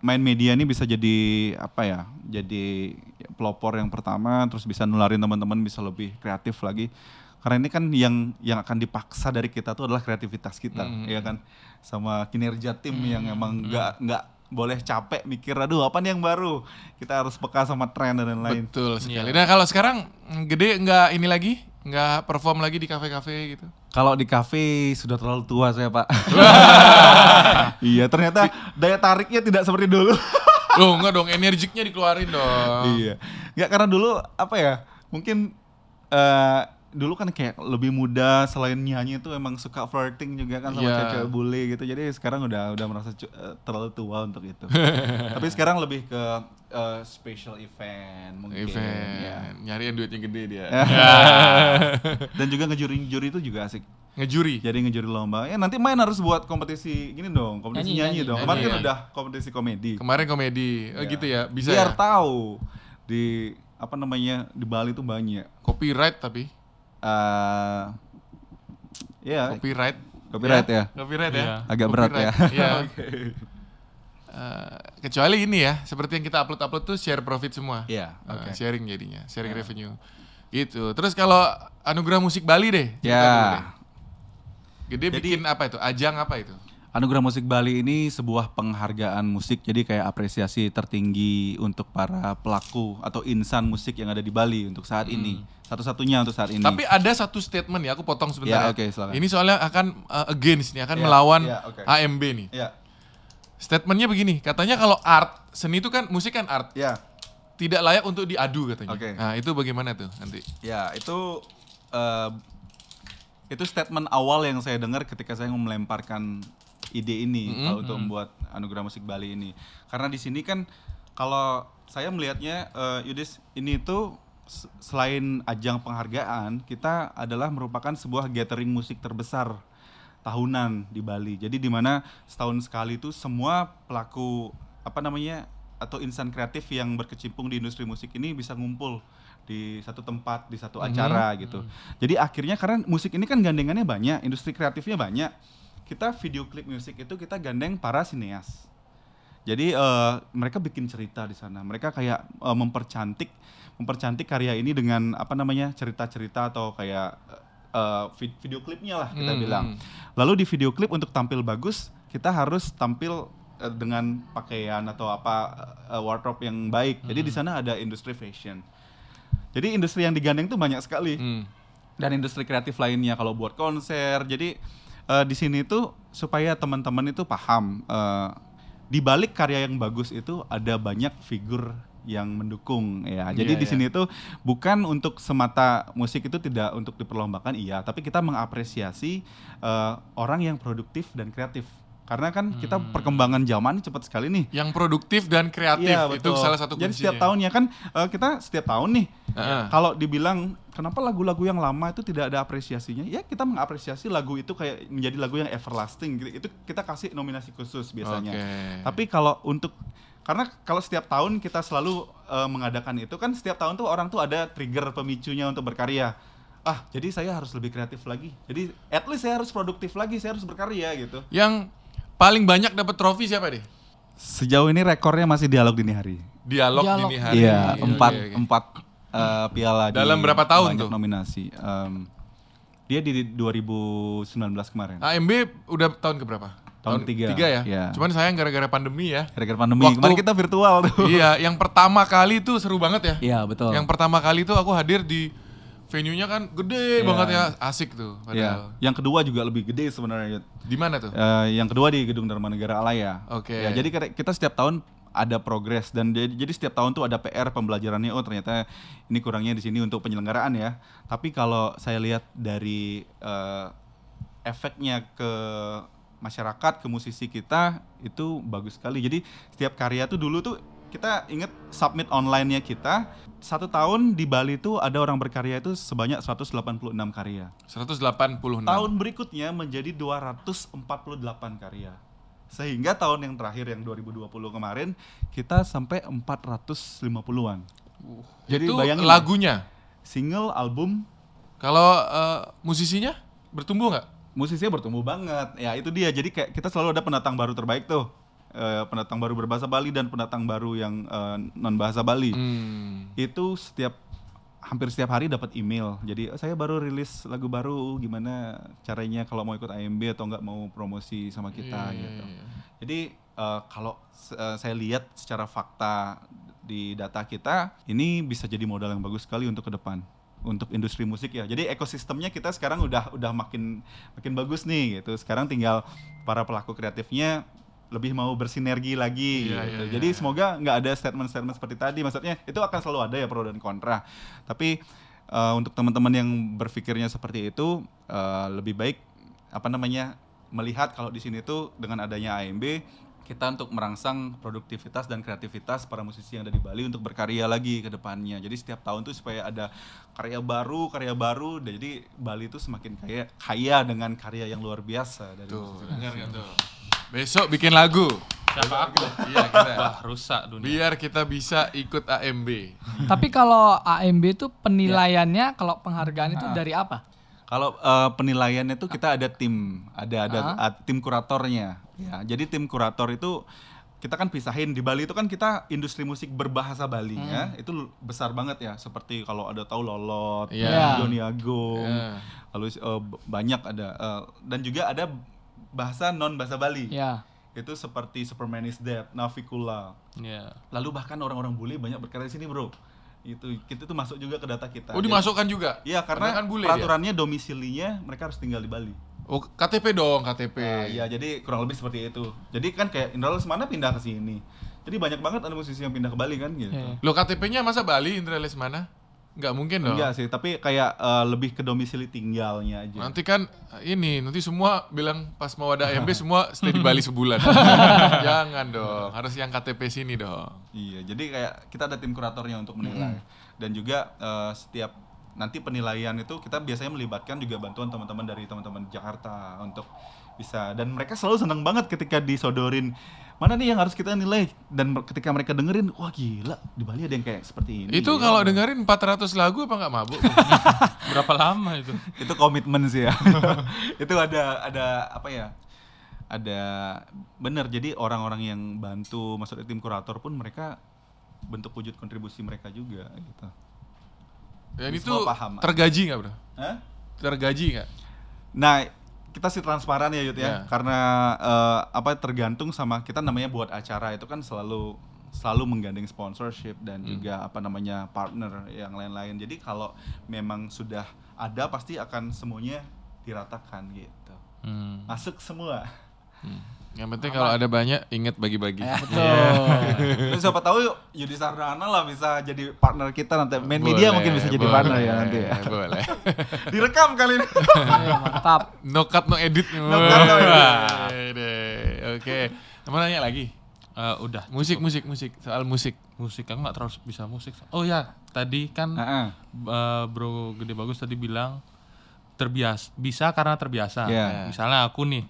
main media ini bisa jadi apa ya? Jadi pelopor yang pertama terus bisa nularin teman-teman bisa lebih kreatif lagi. Karena ini kan yang yang akan dipaksa dari kita tuh adalah kreativitas kita, ya kan? Sama kinerja tim yang emang nggak nggak boleh capek mikir aduh apa nih yang baru. Kita harus peka sama tren dan lain-lain.
Betul sekali.
Iya.
Nah kalau sekarang mm, gede nggak ini lagi, nggak perform lagi di kafe-kafe gitu.
Kalau di kafe sudah terlalu tua saya pak. iya ternyata daya tariknya tidak seperti dulu.
Loh Oh, nggak dong, energiknya dikeluarin dong.
iya. Nggak karena dulu apa ya? Mungkin eh dulu kan kayak lebih muda selain nyanyi itu emang suka flirting juga kan sama
Iya.
cewek bully gitu. Jadi sekarang udah udah merasa cu- eh, terlalu tua untuk itu. Tapi sekarang lebih ke eh, special event mungkin.
Event, Ya.
ya.
nyari yang duitnya gede dia.
Dan juga ngejuri-juri itu juga asik.
Ngejuri.
jadi ngejuri lomba ya nanti main harus buat kompetisi gini dong kompetisi nyanyi,
Nyanyi, nyanyi.
dong kemarin kan
Nyanyi.
udah kompetisi komedi
Kemarin komedi, Eh, gitu ya, bisa
Iya. biar
ya?
tahu di apa namanya di Bali tuh banyak
Copyright
Eh
tapi,
ya
copyright.
copyright ya
Copyright
Iya.
ya.
Agak berat
Copyright.
ya.
Iya. Eh, kecuali ini ya, seperti yang kita upload-upload tuh share profit semua.
Iya,
Eh,
oke. Iya.
sharing jadinya, sharing revenue. Gitu. Terus kalau Anugerah Musik Bali deh. cerita
ya
dulu deh. Gede bikin apa itu? Ajang apa itu?
Anugerah Musik Bali ini sebuah penghargaan musik, jadi kayak apresiasi tertinggi untuk para pelaku atau insan musik yang ada di Bali untuk saat ini. Satu-satunya untuk saat ini.
Hmm. Tapi ada satu statement ya, aku potong
Ya,
sebentar. ya.
oke, silakan.
Ini soalnya akan uh, against nih, akan
Ya,
melawan
ya, oke.
AMB nih.
ya,
Statementnya begini, katanya kalau art, seni itu kan musik kan art,
ya.
tidak layak untuk diadu katanya.
Oke.
Nah, itu bagaimana tuh nanti?
Ya, itu eh, itu statement awal yang saya dengar ketika saya melemparkan ide ini kalau untuk membuat Anugerah Musik Bali ini. Karena di sini kan kalau saya melihatnya eh, Yudis ini itu s- selain ajang penghargaan, kita adalah merupakan sebuah gathering musik terbesar tahunan di Bali. Jadi di mana setahun sekali itu semua pelaku apa namanya atau insan kreatif yang berkecimpung di industri musik ini bisa ngumpul di satu tempat di satu acara gitu. Jadi akhirnya karena musik ini kan gandengannya banyak, industri kreatifnya banyak. Kita video klip musik itu kita gandeng para sineas Jadi eh, mereka bikin cerita di sana. Mereka kayak eh, mempercantik mempercantik karya ini dengan apa namanya cerita-cerita atau kayak eh, eh, vid- video klipnya lah kita
Hmm,
bilang.
hmm.
Lalu di video klip untuk tampil bagus kita harus tampil eh, dengan pakaian atau apa eh, wardrobe yang baik. Jadi
Hmm.
di sana ada industri fashion. Jadi industri yang digandeng tuh banyak sekali
Hmm.
dan industri kreatif lainnya kalau buat konser. Jadi eh, di sini tuh supaya teman-teman itu paham eh, di balik karya yang bagus itu ada banyak figur yang mendukung ya. Jadi
Iya,
di
iya.
sini tuh bukan untuk semata musik itu tidak untuk diperlombakan iya, tapi kita mengapresiasi eh, orang yang produktif dan kreatif. Karena kan kita perkembangan zaman cepat sekali nih.
Yang produktif dan Hmm. kreatif
Iya,
itu
betul.
salah satu kuncinya.
Jadi setiap tahunnya kan eh, kita setiap tahun nih
Heeh.
kalau dibilang kenapa lagu-lagu yang lama itu tidak ada apresiasinya? Ya kita mengapresiasi lagu itu kayak menjadi lagu yang everlasting gitu. Itu kita kasih nominasi khusus biasanya.
Oke.
Tapi kalau untuk karena kalau setiap tahun kita selalu eh, mengadakan itu kan setiap tahun tuh orang tuh ada trigger pemicunya untuk berkarya. Ah, jadi saya harus lebih kreatif lagi. Jadi at least saya harus produktif lagi, saya harus berkarya gitu.
Yang paling banyak dapat trofi siapa deh?
Sejauh ini rekornya masih dialog dini hari.
Dialog,
Dialog.
ini hari.
Iya,
Oke,
empat
oke.
empat eh, piala di
Dalam berapa tahun
banyak
tuh?
nominasi. Em, dia di 2019 kemarin.
AMB udah tahun ke berapa?
Tahun ketiga.
ya.
Iya.
Cuman sayang gara-gara pandemi ya.
Gara-gara pandemi.
Waktu-
Kemarin kita virtual tuh.
iya, yang pertama kali itu seru banget ya.
Iya, betul.
Yang pertama kali itu aku hadir di venue-nya kan gede
Iya.
banget ya, asik tuh
Iya.
padahal.
Yang kedua juga lebih gede sebenarnya. Yud.
Di mana tuh?
Eh, yang kedua di Gedung Dharma Negara Alaya.
Oke.
Ya, jadi kita- kita setiap tahun ada progres dan jadi, jadi setiap tahun tuh ada PR pembelajarannya. Oh ternyata ini kurangnya di sini untuk penyelenggaraan ya. Tapi kalau saya lihat dari eh, efeknya ke masyarakat, ke musisi kita itu bagus sekali. Jadi setiap karya tuh dulu tuh kita inget submit online-nya kita satu tahun di Bali tuh ada orang berkarya itu sebanyak 186 karya
186.
tahun berikutnya menjadi 248 karya. Sehingga tahun yang terakhir yang 2020 kemarin kita sampai 450-an.
Jadi itu
bayangin ya.
lagunya.
single, album,
Kalau eh, musisinya bertumbuh nggak?
musisinya bertumbuh banget. Ya itu dia. Jadi kayak kita selalu ada pendatang baru terbaik tuh. Eh, pendatang baru berbahasa Bali dan pendatang baru yang eh, non bahasa Bali.
Hmm.
Itu setiap hampir setiap hari dapat email. Jadi "Oh, saya baru rilis lagu baru, gimana caranya kalau mau ikut AMB atau nggak mau promosi sama kita
Hmm.
gitu. Jadi eh, kalau s- eh, saya lihat secara fakta di data kita, ini bisa jadi modal yang bagus sekali untuk ke depan untuk industri musik ya. Jadi ekosistemnya kita sekarang udah udah makin makin bagus nih gitu. Sekarang tinggal para pelaku kreatifnya lebih mau bersinergi lagi.
Iya,
gitu.
iya,
Jadi
iya.
semoga nggak ada statement-statement seperti tadi. Maksudnya itu akan selalu ada ya pro dan kontra. Tapi eh, untuk teman-teman yang berpikirnya seperti itu eh, lebih baik apa namanya melihat kalau di sini tuh dengan adanya AMB kita untuk merangsang produktivitas dan kreativitas para musisi yang ada di Bali untuk berkarya lagi ke depannya. Jadi setiap tahun tuh supaya ada karya baru, karya baru. Dan Jadi Bali tuh semakin kaya kaya dengan karya yang luar biasa dari
Tuh,
musisi.
dengar nggak tuh? Besok bikin lagu.
Siapa aku?
Iya, kita.
Wah, rusak dunia.
Biar kita bisa ikut AMB.
Tapi kalau AMB itu penilaiannya kalau
Ah.
penghargaan itu dari apa?
Kalau eh, penilaiannya tuh kita ada tim, ada ada ah, tim kuratornya. Ya, jadi tim kurator itu kita kan pisahin di Bali itu kan kita industri musik berbahasa Bali ya,
Hmm.
itu l- besar banget ya. Seperti kalau ada tahu Lolot,
Iya.
Joni Agung,
Iya.
lalu eh, b- banyak ada eh, dan juga ada bahasa non bahasa Bali.
Iya.
Ya.
Itu seperti Superman is Dead, Navikula.
Iya.
Lalu bahkan orang-orang bule banyak berkarya di sini, Bro. Itu kita tuh masuk juga ke data kita.
Oh,
Jadi-
dimasukkan juga?
Iya karena
kan boleh dia.
peraturannya domisilinya mereka harus tinggal di Bali.
Oh, KTP dong, KTP.
Nah, Iya jadi kurang lebih seperti itu. Jadi kan kayak Indra Lesmana pindah ke sini. Jadi banyak banget ada musisi yang pindah ke Bali kan gitu.
Iya.
Loh, KTP-nya masa Bali, Indra Lesmana? Nggak mungkin dong.
Enggak sih, tapi kayak eh, lebih ke domisili tinggalnya aja.
Nanti kan ini, nanti semua bilang pas mau ada AMB semua stay di Bali sebulan. Jangan dong, harus yang KTP sini dong.
Iya, jadi kayak kita ada tim kuratornya untuk menilai. Dan juga eh, setiap nanti penilaian itu kita biasanya melibatkan juga bantuan teman-teman dari teman-teman di Jakarta untuk bisa dan mereka selalu senang banget ketika disodorin mana nih yang harus kita nilai dan mer- ketika mereka dengerin wah gila di Bali ada yang kayak seperti ini.
Itu
ya.
kalau dengerin 400 lagu apa nggak mabuk?
Berapa lama itu?
itu komitmen sih ya. itu ada ada apa ya? ada bener jadi orang-orang yang bantu maksudnya tim kurator pun mereka bentuk wujud kontribusi mereka juga gitu.
Dan
Ini
itu
semua paham.
tergaji nggak bro?
Hah?
Tergaji nggak?
Nah, kita sih transparan ya Yud ya.
Ya.
Karena eh, apa tergantung sama kita namanya buat acara itu kan selalu selalu menggandeng sponsorship dan
Hmm.
juga apa namanya partner yang lain-lain. Jadi kalau memang sudah ada pasti akan semuanya diratakan gitu.
Hmm.
Masuk semua.
Yang penting kalau ada banyak ingat bagi-bagi.
Eh, Terus siapa tahu Yudi Sardana lah bisa jadi partner kita nanti. Main media
Boleh,
mungkin bisa jadi
boleh,
partner ya nanti ya.
Boleh.
Direkam kali ini.
Iya, mantap.
No cut no edit.
cut, no edit.
Wah, deh. Oke. Mau nanya lagi.
Eh, udah
Musik, musik, musik. Soal musik.
musik aku nggak terlalu bisa musik oh ya tadi kan
Heeh.
eh, bro gede bagus tadi bilang terbiasa bisa karena terbiasa
Iya.
misalnya aku nih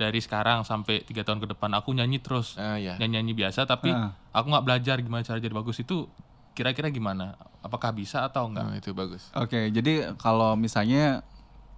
dari sekarang sampai tiga tahun ke depan aku nyanyi terus
Ah, ya.
nyanyi nyanyi biasa
Eh,
tapi
iya. Ah.
aku nggak belajar gimana cara jadi bagus itu kira-kira gimana apakah bisa atau enggak
Nah, itu bagus.
Oke, jadi kalau misalnya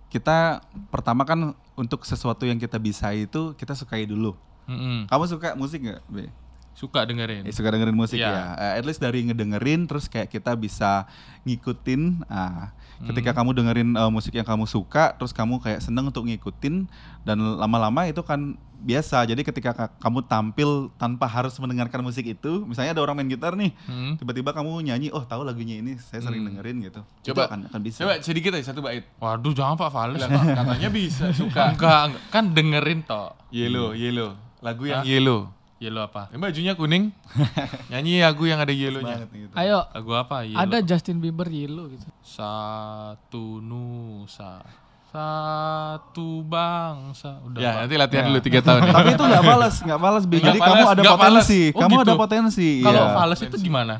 kita pertama kan untuk sesuatu yang kita bisa itu kita sukai dulu.
Mm-mm.
Kamu suka musik nggak? Be?
suka dengerin
Eh, suka dengerin musik
Iya.
ya. Eh, at least dari ngedengerin terus kayak kita bisa ngikutin. Ah, ketika
Hmm.
kamu dengerin eh, musik yang kamu suka, terus kamu kayak seneng untuk ngikutin dan lama-lama itu kan biasa. Jadi ketika ka- kamu tampil tanpa harus mendengarkan musik itu, misalnya ada orang main gitar nih,
Hmm.
Mm.
tiba-tiba kamu nyanyi, oh tahu lagunya ini, saya sering dengerin gitu. Itu
Coba.
akan, akan bisa.
Coba sedikit aja satu bait.
waduh jangan pak Fales
Lah, kok Katanya bisa
enggak,
suka.
enggak enggak. kan dengerin toh
Yellow, yellow. Lagu yang yellow.
yellow apa
Ini bajunya kuning. Nyanyi lagu yang ada
Banget
yellownya.
gitu.
Ayo,
lagu apa Ya yellow
ada Justin Bieber Yellow gitu.
satu nusa satu bangsa udah
Ya,
Pak.
nanti latihan dulu 3 tahun ya.
Tapi itu nggak balas, nggak balas. Bi.
Nggak
Jadi
balas,
kamu ada
nggak balas.
potensi,
Oh,
kamu ada
gitu.
potensi.
kalau
iya.
fales itu gimana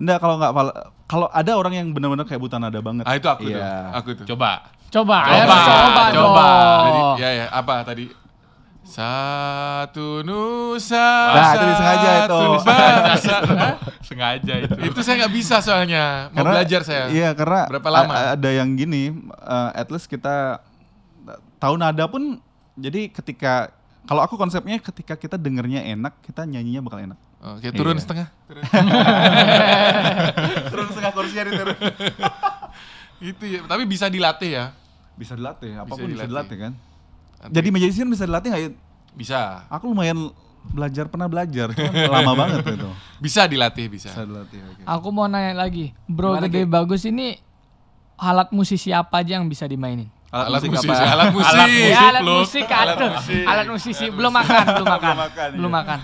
Nggak, kalau nggak fal- kalau ada orang yang benar-benar kayak buta nada banget.
Ah, itu aku tuh.
Iya.
Aku tuh.
coba
Coba,
Coba,
ayo, coba,
coba.
dong.
Jadi, ya ya, apa tadi? Satu nusa.
Nah, itu disengaja itu.
satu bangsa. Hah?
sengaja itu
itu saya nggak bisa soalnya. Mau
Karena-
belajar saya.
Iya, karena
Berapa lama?
a- ada yang gini, eh, at least kita tahu nada pun jadi ketika kalau aku konsepnya ketika kita dengernya enak, kita nyanyinya bakal enak.
Oke, turun
Iya.
setengah.
Terus setengah kursinya diterus.
Itu ya, tapi bisa dilatih ya.
Bisa dilatih, apapun bisa dilatih,
dilatih.
kan. Jadi magician bisa dilatih nggak? Yud?
Bisa.
Aku lumayan belajar pernah belajar, cuman lama banget gitu. itu.
Bisa dilatih bisa.
Bisa dilatih. oke.
Aku mau nanya lagi, bro gede bagus ini alat musisi apa aja yang bisa dimainin?
Alat musik,
apa?
alat musik.
Alat musik.
Ya, alat
belum.
musik, aduh. alat musisi belum makan, belum makan,
makan,
belum
iya.
makan.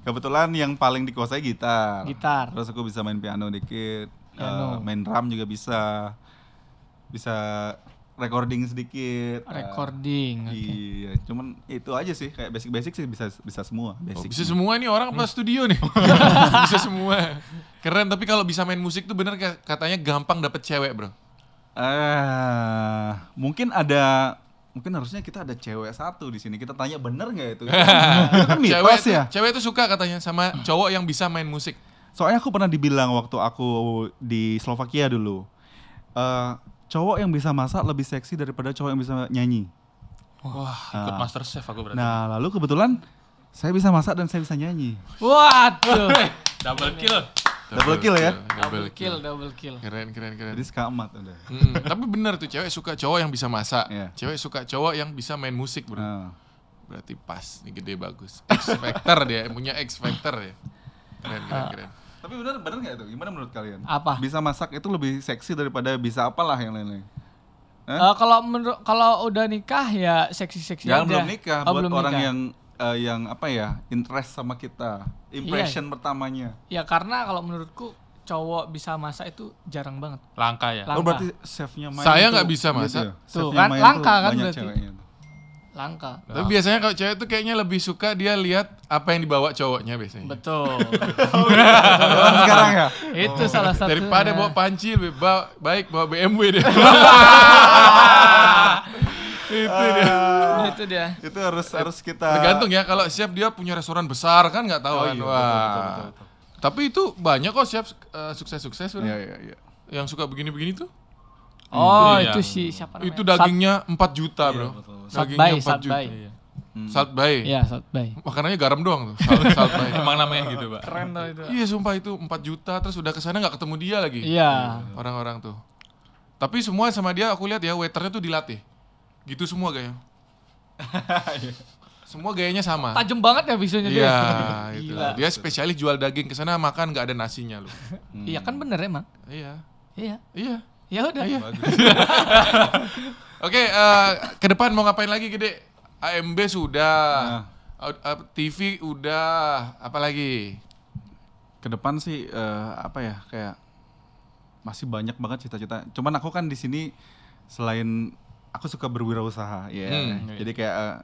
Kebetulan yang paling dikuasai gitar.
Gitar.
Terus aku bisa main piano dikit, eh,
Piano.
main drum juga bisa, bisa recording sedikit. eh,
Recording, oke.
Iya, cuman itu aja sih kayak basic-basic sih bisa bisa semua.
Oh,
Basic.
bisa semua nih orang
Hmm.
apa studio nih? bisa semua. Keren, tapi kalau bisa main musik tuh bener ka- katanya gampang dapet cewek, Bro.
Eh, mungkin ada mungkin harusnya kita ada cewek satu di sini. Kita tanya bener nggak itu? itu kan
cewek
mitos
tuh,
ya.
cewek tuh suka katanya sama cowok yang bisa main musik.
Soalnya aku pernah dibilang waktu aku di Slovakia dulu, eh, cowok yang bisa masak lebih seksi daripada cowok yang bisa nyanyi.
wah ikut master chef aku berarti
Nah, lalu kebetulan saya bisa masak dan saya bisa nyanyi.
Waduh,
double kill
Double kill ya?
Double
double kill, double kill.
Keren, keren, keren.
Jadi sekamat udah.
Mm, tapi bener tuh cewek suka cowok yang bisa masak,
Iya.
cewek suka cowok yang bisa main musik, Bro.
Nah,
Berarti pas, nih gede bagus. X factor dia, punya X factor ya. Keren, keren, keren.
Tapi benar benar nggak itu? Gimana menurut kalian? Ah.
Apa?
Bisa masak itu lebih seksi daripada bisa apalah yang lain-lain.
Eh, kalau menurut kalau udah nikah ya seksi-seksi aja.
Yang belum nikah
Oh,
buat
belum
orang
nikah.
yang eh, yang apa ya? Interest sama kita,
Iya.
impression pertamanya.
Ya karena kalau menurutku cowok bisa masak itu jarang banget.
langka ya
Langka.
Oh berarti chefnya main
Saya
tuh
nggak bisa
gitu
masak.
ya?
Tuh,
Chefnya
kan
main
langka
tuh
kan
banyak
berarti.
ceweknya tuh.
Langka.
Tapi biasanya kalau cewek tuh kayaknya lebih suka dia lihat apa yang dibawa cowoknya biasanya.
Betul.
Orang sekarang ya.
itu salah satu.
eh.
Daripada bawa panci lebih ba- baik bawa BMW deh. itu dia.
Nah, itu dia.
Iya. Itu harus harus kita
Tergantung ya kalau chef dia punya restoran besar kan nggak tahu
Oh
kan.
iya,
Wah.
betul, betul, betul, betul.
Tapi itu banyak kok chef eh, sukses-sukses Bro.
Iya iya iya.
yang suka begini-begini tuh.
Oh,
Iya.
itu si siapa namanya?
Itu dagingnya 4 juta,
Iya,
Bro.
betul, betul.
Sat-
Dagingnya
satbay, satbay.
juta.
Hmm.
Salt Bay.
Iya, satbay.
Makanannya garam doang tuh. Salt, salt Bay.
Emang namanya gitu, Pak.
Keren tuh itu.
Iya sumpah itu 4 juta terus udah kesana nggak ketemu dia lagi.
Iya.
Orang-orang tuh. Tapi semua sama dia aku lihat ya waiternya tuh dilatih. Gitu semua gaya. semua gayanya sama.
Tajam banget ya visualnya dia.
Iya, itu.
Gila.
Dia spesialis jual daging ke sana makan nggak ada nasinya lu.
Iya kan bener emang.
iya.
Iya.
Iya.
Ya udah.
Iya. Oke, eh, ke depan mau ngapain lagi gede? AMB
Nah.
sudah. Out- up- TV udah, apalagi?
ke depan sih eh, apa ya kayak masih banyak banget cita-cita. Cuman aku kan di sini selain aku suka berwirausaha, ya.
Hmm.
Jadi kayak eh,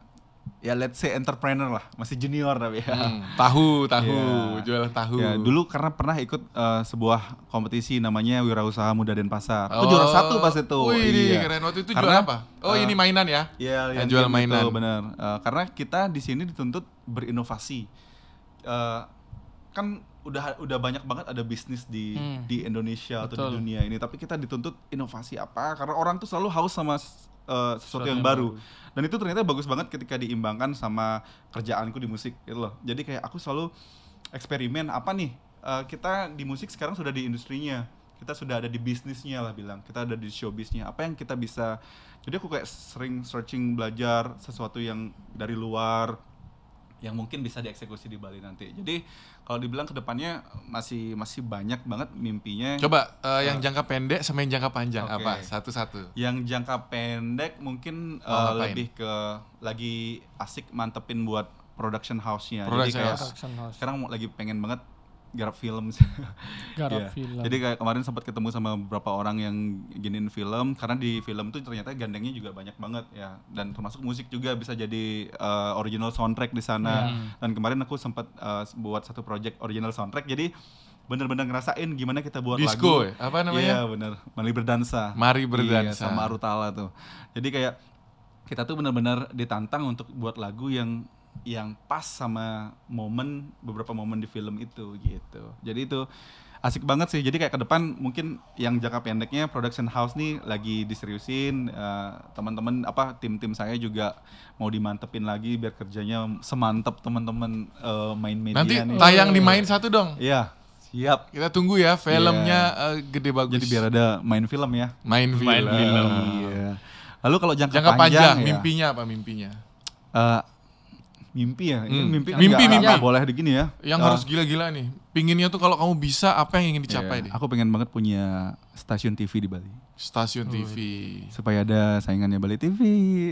ya let's say entrepreneur lah, masih junior tapi ya.
Hmm, Tahu, tahu,
Iya.
jualan tahu.
Ya, dulu karena pernah ikut eh, sebuah kompetisi namanya Wirausaha Muda Denpasar. Aku
Oh.
juara satu pas itu.
Wih,
Iya.
keren waktu itu
Karena,
jual apa? Oh, ini mainan ya?
Iya,
Yang
yang
jual
game
mainan.
Itu, bener. Eh, karena kita di sini dituntut berinovasi. Eh, kan udah udah banyak banget ada bisnis di
Hmm.
di Indonesia atau
Betul.
di dunia ini, tapi kita dituntut inovasi apa? Karena orang tuh selalu haus sama s- eh, sesuatu yang, baru. Dan itu ternyata bagus banget ketika diimbangkan sama kerjaanku di musik gitu loh. Jadi kayak aku selalu eksperimen apa nih? Eh, kita di musik sekarang sudah di industrinya. Kita sudah ada di bisnisnya lah bilang. Kita ada di showbiznya. Apa yang kita bisa jadi aku kayak sering searching belajar sesuatu yang dari luar yang mungkin bisa dieksekusi di Bali nanti. Jadi kalau dibilang kedepannya masih masih banyak banget mimpinya.
Coba eh, yang jangka pendek sama yang jangka panjang
Oke.
apa? Satu-satu.
Yang jangka pendek mungkin
Mau
eh,
ngapain?
lebih ke lagi asik mantepin buat production house-nya. Jadi
Production
kayak
house.
Production house.
sekarang mau- lagi pengen banget garap film. Iya.
Garap film.
Jadi kayak kemarin sempat ketemu sama beberapa orang yang giniin film karena di film tuh ternyata gandengnya juga banyak banget ya dan termasuk musik juga bisa jadi eh, original soundtrack di sana.
Hmm.
Dan kemarin aku sempat eh, buat satu project original soundtrack. Jadi bener-bener ngerasain gimana kita buat
Disco
lagu.
ya? Apa namanya?
Iya bener. Mari berdansa.
Mari berdansa.
Iya, sama Arutala tuh. Jadi kayak kita tuh benar-benar ditantang untuk buat lagu yang yang pas sama momen beberapa momen di film itu gitu. Jadi itu asik banget sih. Jadi kayak ke depan mungkin yang jangka pendeknya production house nih lagi diseriusin eh, teman-teman apa tim-tim saya juga mau dimantepin lagi biar kerjanya semantep teman-teman eh, main media
Nanti
nih.
tayang di main satu dong.
Iya, siap.
Kita tunggu ya filmnya eh, gede
Iya.
bagus.
Jadi biar ada main film ya.
main film.
Main film.
Iya. Lalu kalau jangka,
Jangka
panjang,
panjang,
ya,
mimpinya apa mimpinya?
eh, mimpi ya, ini
Hmm.
mimpi
Mimpi,
nggak-
mimpi.
nggak boleh begini ya.
Yang
Eh,
harus gila-gila nih. Pinginnya tuh kalau kamu bisa apa yang ingin dicapai
iya.
deh?
Aku pengen banget punya stasiun TV di Bali
Stasiun TV.
supaya ada saingannya Bali TV.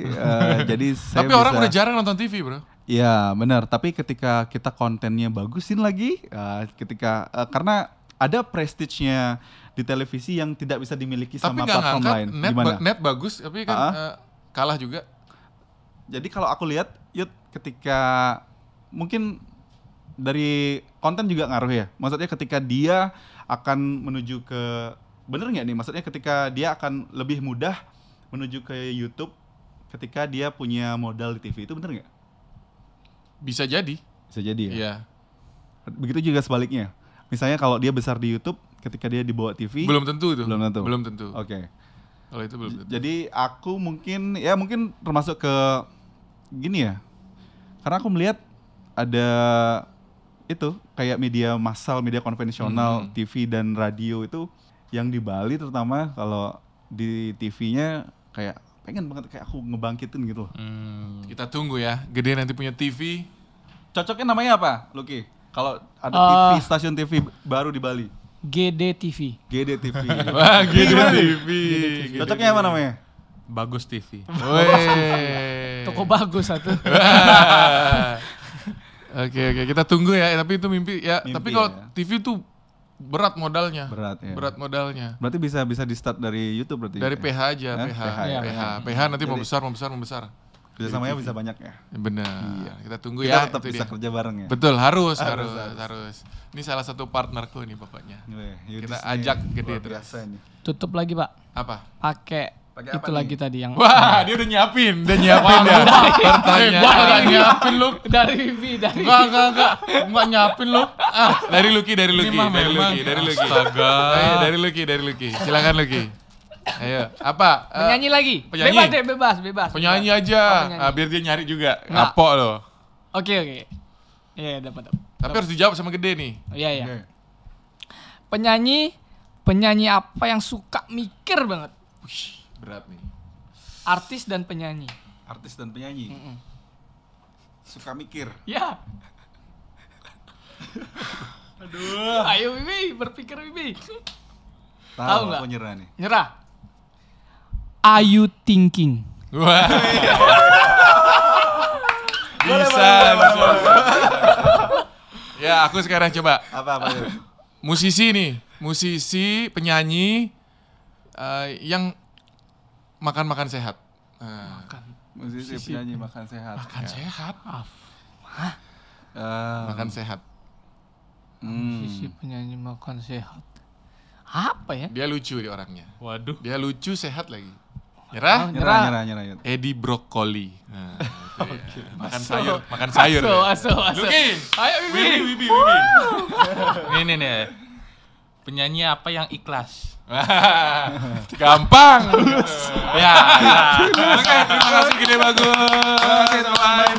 Eh, jadi saya
Tapi orang
bisa-
udah jarang nonton TV, Bro.
Iya benar. Tapi ketika kita kontennya bagusin lagi, eh, ketika eh, karena ada prestige-nya di televisi yang tidak bisa dimiliki
Tapi
sama
nggak
platform
ngangkat
lain.
net,
Gimana?
ba- net bagus tapi kan
Ah.
eh, kalah juga.
Jadi kalau aku lihat, Yud, ketika mungkin dari konten juga ngaruh ya. Maksudnya ketika dia akan menuju ke bener nggak nih? Maksudnya ketika dia akan lebih mudah menuju ke YouTube ketika dia punya modal di TV itu bener nggak?
Bisa jadi.
Bisa jadi ya.
Iya.
Begitu juga sebaliknya. Misalnya kalau dia besar di YouTube, ketika dia dibawa TV,
Belum tentu itu.
Belum tentu.
Belum tentu.
Oke.
Kalau itu belum tentu.
Jadi aku mungkin ya mungkin termasuk ke gini ya. Karena aku melihat ada itu kayak media massal, media
Hmm.
konvensional, TV dan radio itu yang di Bali terutama kalau di TV-nya kayak pengen banget kayak aku ngebangkitin gitu loh.
Hmm. Kita tunggu ya. Gede nanti punya TV.
Cocoknya namanya apa, Lucky? Kalau ada
Eh.
TV stasiun TV baru di Bali,
GDTV.
GD TV.
Wah, gede TV.
Cocoknya apa namanya?
Bagus TV.
Woi.
Toko bagus satu.
Wah. Oke oke kita tunggu ya. Tapi itu mimpi ya.
Mimpi
tapi kalau
ya.
TV tuh berat modalnya.
Berat ya.
Berat Iya. modalnya.
Berarti bisa bisa di start dari YouTube berarti.
Dari
ya?
PH aja,
Hah?
PH,
PH,
PH,
ya.
PH, nanti mau besar, mau besar, mau besar.
Kerjasamanya bisa banyak ya.
Benar. Kita tunggu
Kita
ya.
tetap
itu
bisa
dia.
kerja bareng ya.
Betul, harus, harus, harus, Ini salah satu partnerku nih pokoknya.
Weh, Yudis
Kita
nih
ajak gede
luar
terus.
biasa ini.
Tutup lagi pak.
Apa?
Pakai
Pakai apa
itu
nih?
lagi tadi yang
Wah, dia udah nyiapin, dia nyiapin ya. Pertanyaan, udah nyiapin lu.
dari Vivi dari.
Enggak, enggak, enggak. Enggak nyiapin lu. Ah, dari Lucky, dari Lucky,
mah
dari
memang.
Lucky, dari Lucky.
Astaga.
Eh, dari Lucky, dari Lucky. Silakan Lucky. Ayo, apa? Eh,
Penyanyi lagi.
penyanyi.
Bebas deh, bebas, bebas.
penyanyi
bebas.
aja.
Oh, penyanyi.
Ah, biar dia nyari juga.
Nggak.
Ngapo loh.
Oke, oke. Iya, dapat. dapat.
Tapi harus dijawab sama gede nih.
Iya, iya.
Oke.
Penyanyi penyanyi apa yang suka mikir banget?
Wih, berat nih.
Artis dan penyanyi.
Artis dan penyanyi. Suka mikir.
Ya. Aduh. Ayo Bibi, berpikir Bibi. Tahu
Tahu
nggak?
aku nyerah nih.
Nyerah. Are you thinking?
Wah. bisa, bisa. ya, aku sekarang coba.
Apa apa ya?
Musisi nih, musisi, penyanyi eh, yang makan-makan sehat. Nah,
Musisi penyanyi makan sehat.
makan sehat.
Eh,
Makan sehat.
hmm.
Sisi penyanyi makan sehat. Apa ya?
Dia lucu dia orangnya.
Waduh.
Dia lucu sehat lagi. Nyerah?
Nyerah, nyerah, nyerah. nyerah.
Edi brokoli. Nah, gitu ya. Makan sayur, makan sayur.
Aso,
dia.
aso, aso.
Luki.
Ayo Bibi.
Wibi, wibi, wibi.
Ini nih nih. Penyanyi apa yang ikhlas?
Gampang.
ya. ya.
Oke, terima kasih gede bagus.
kasih, teman-teman.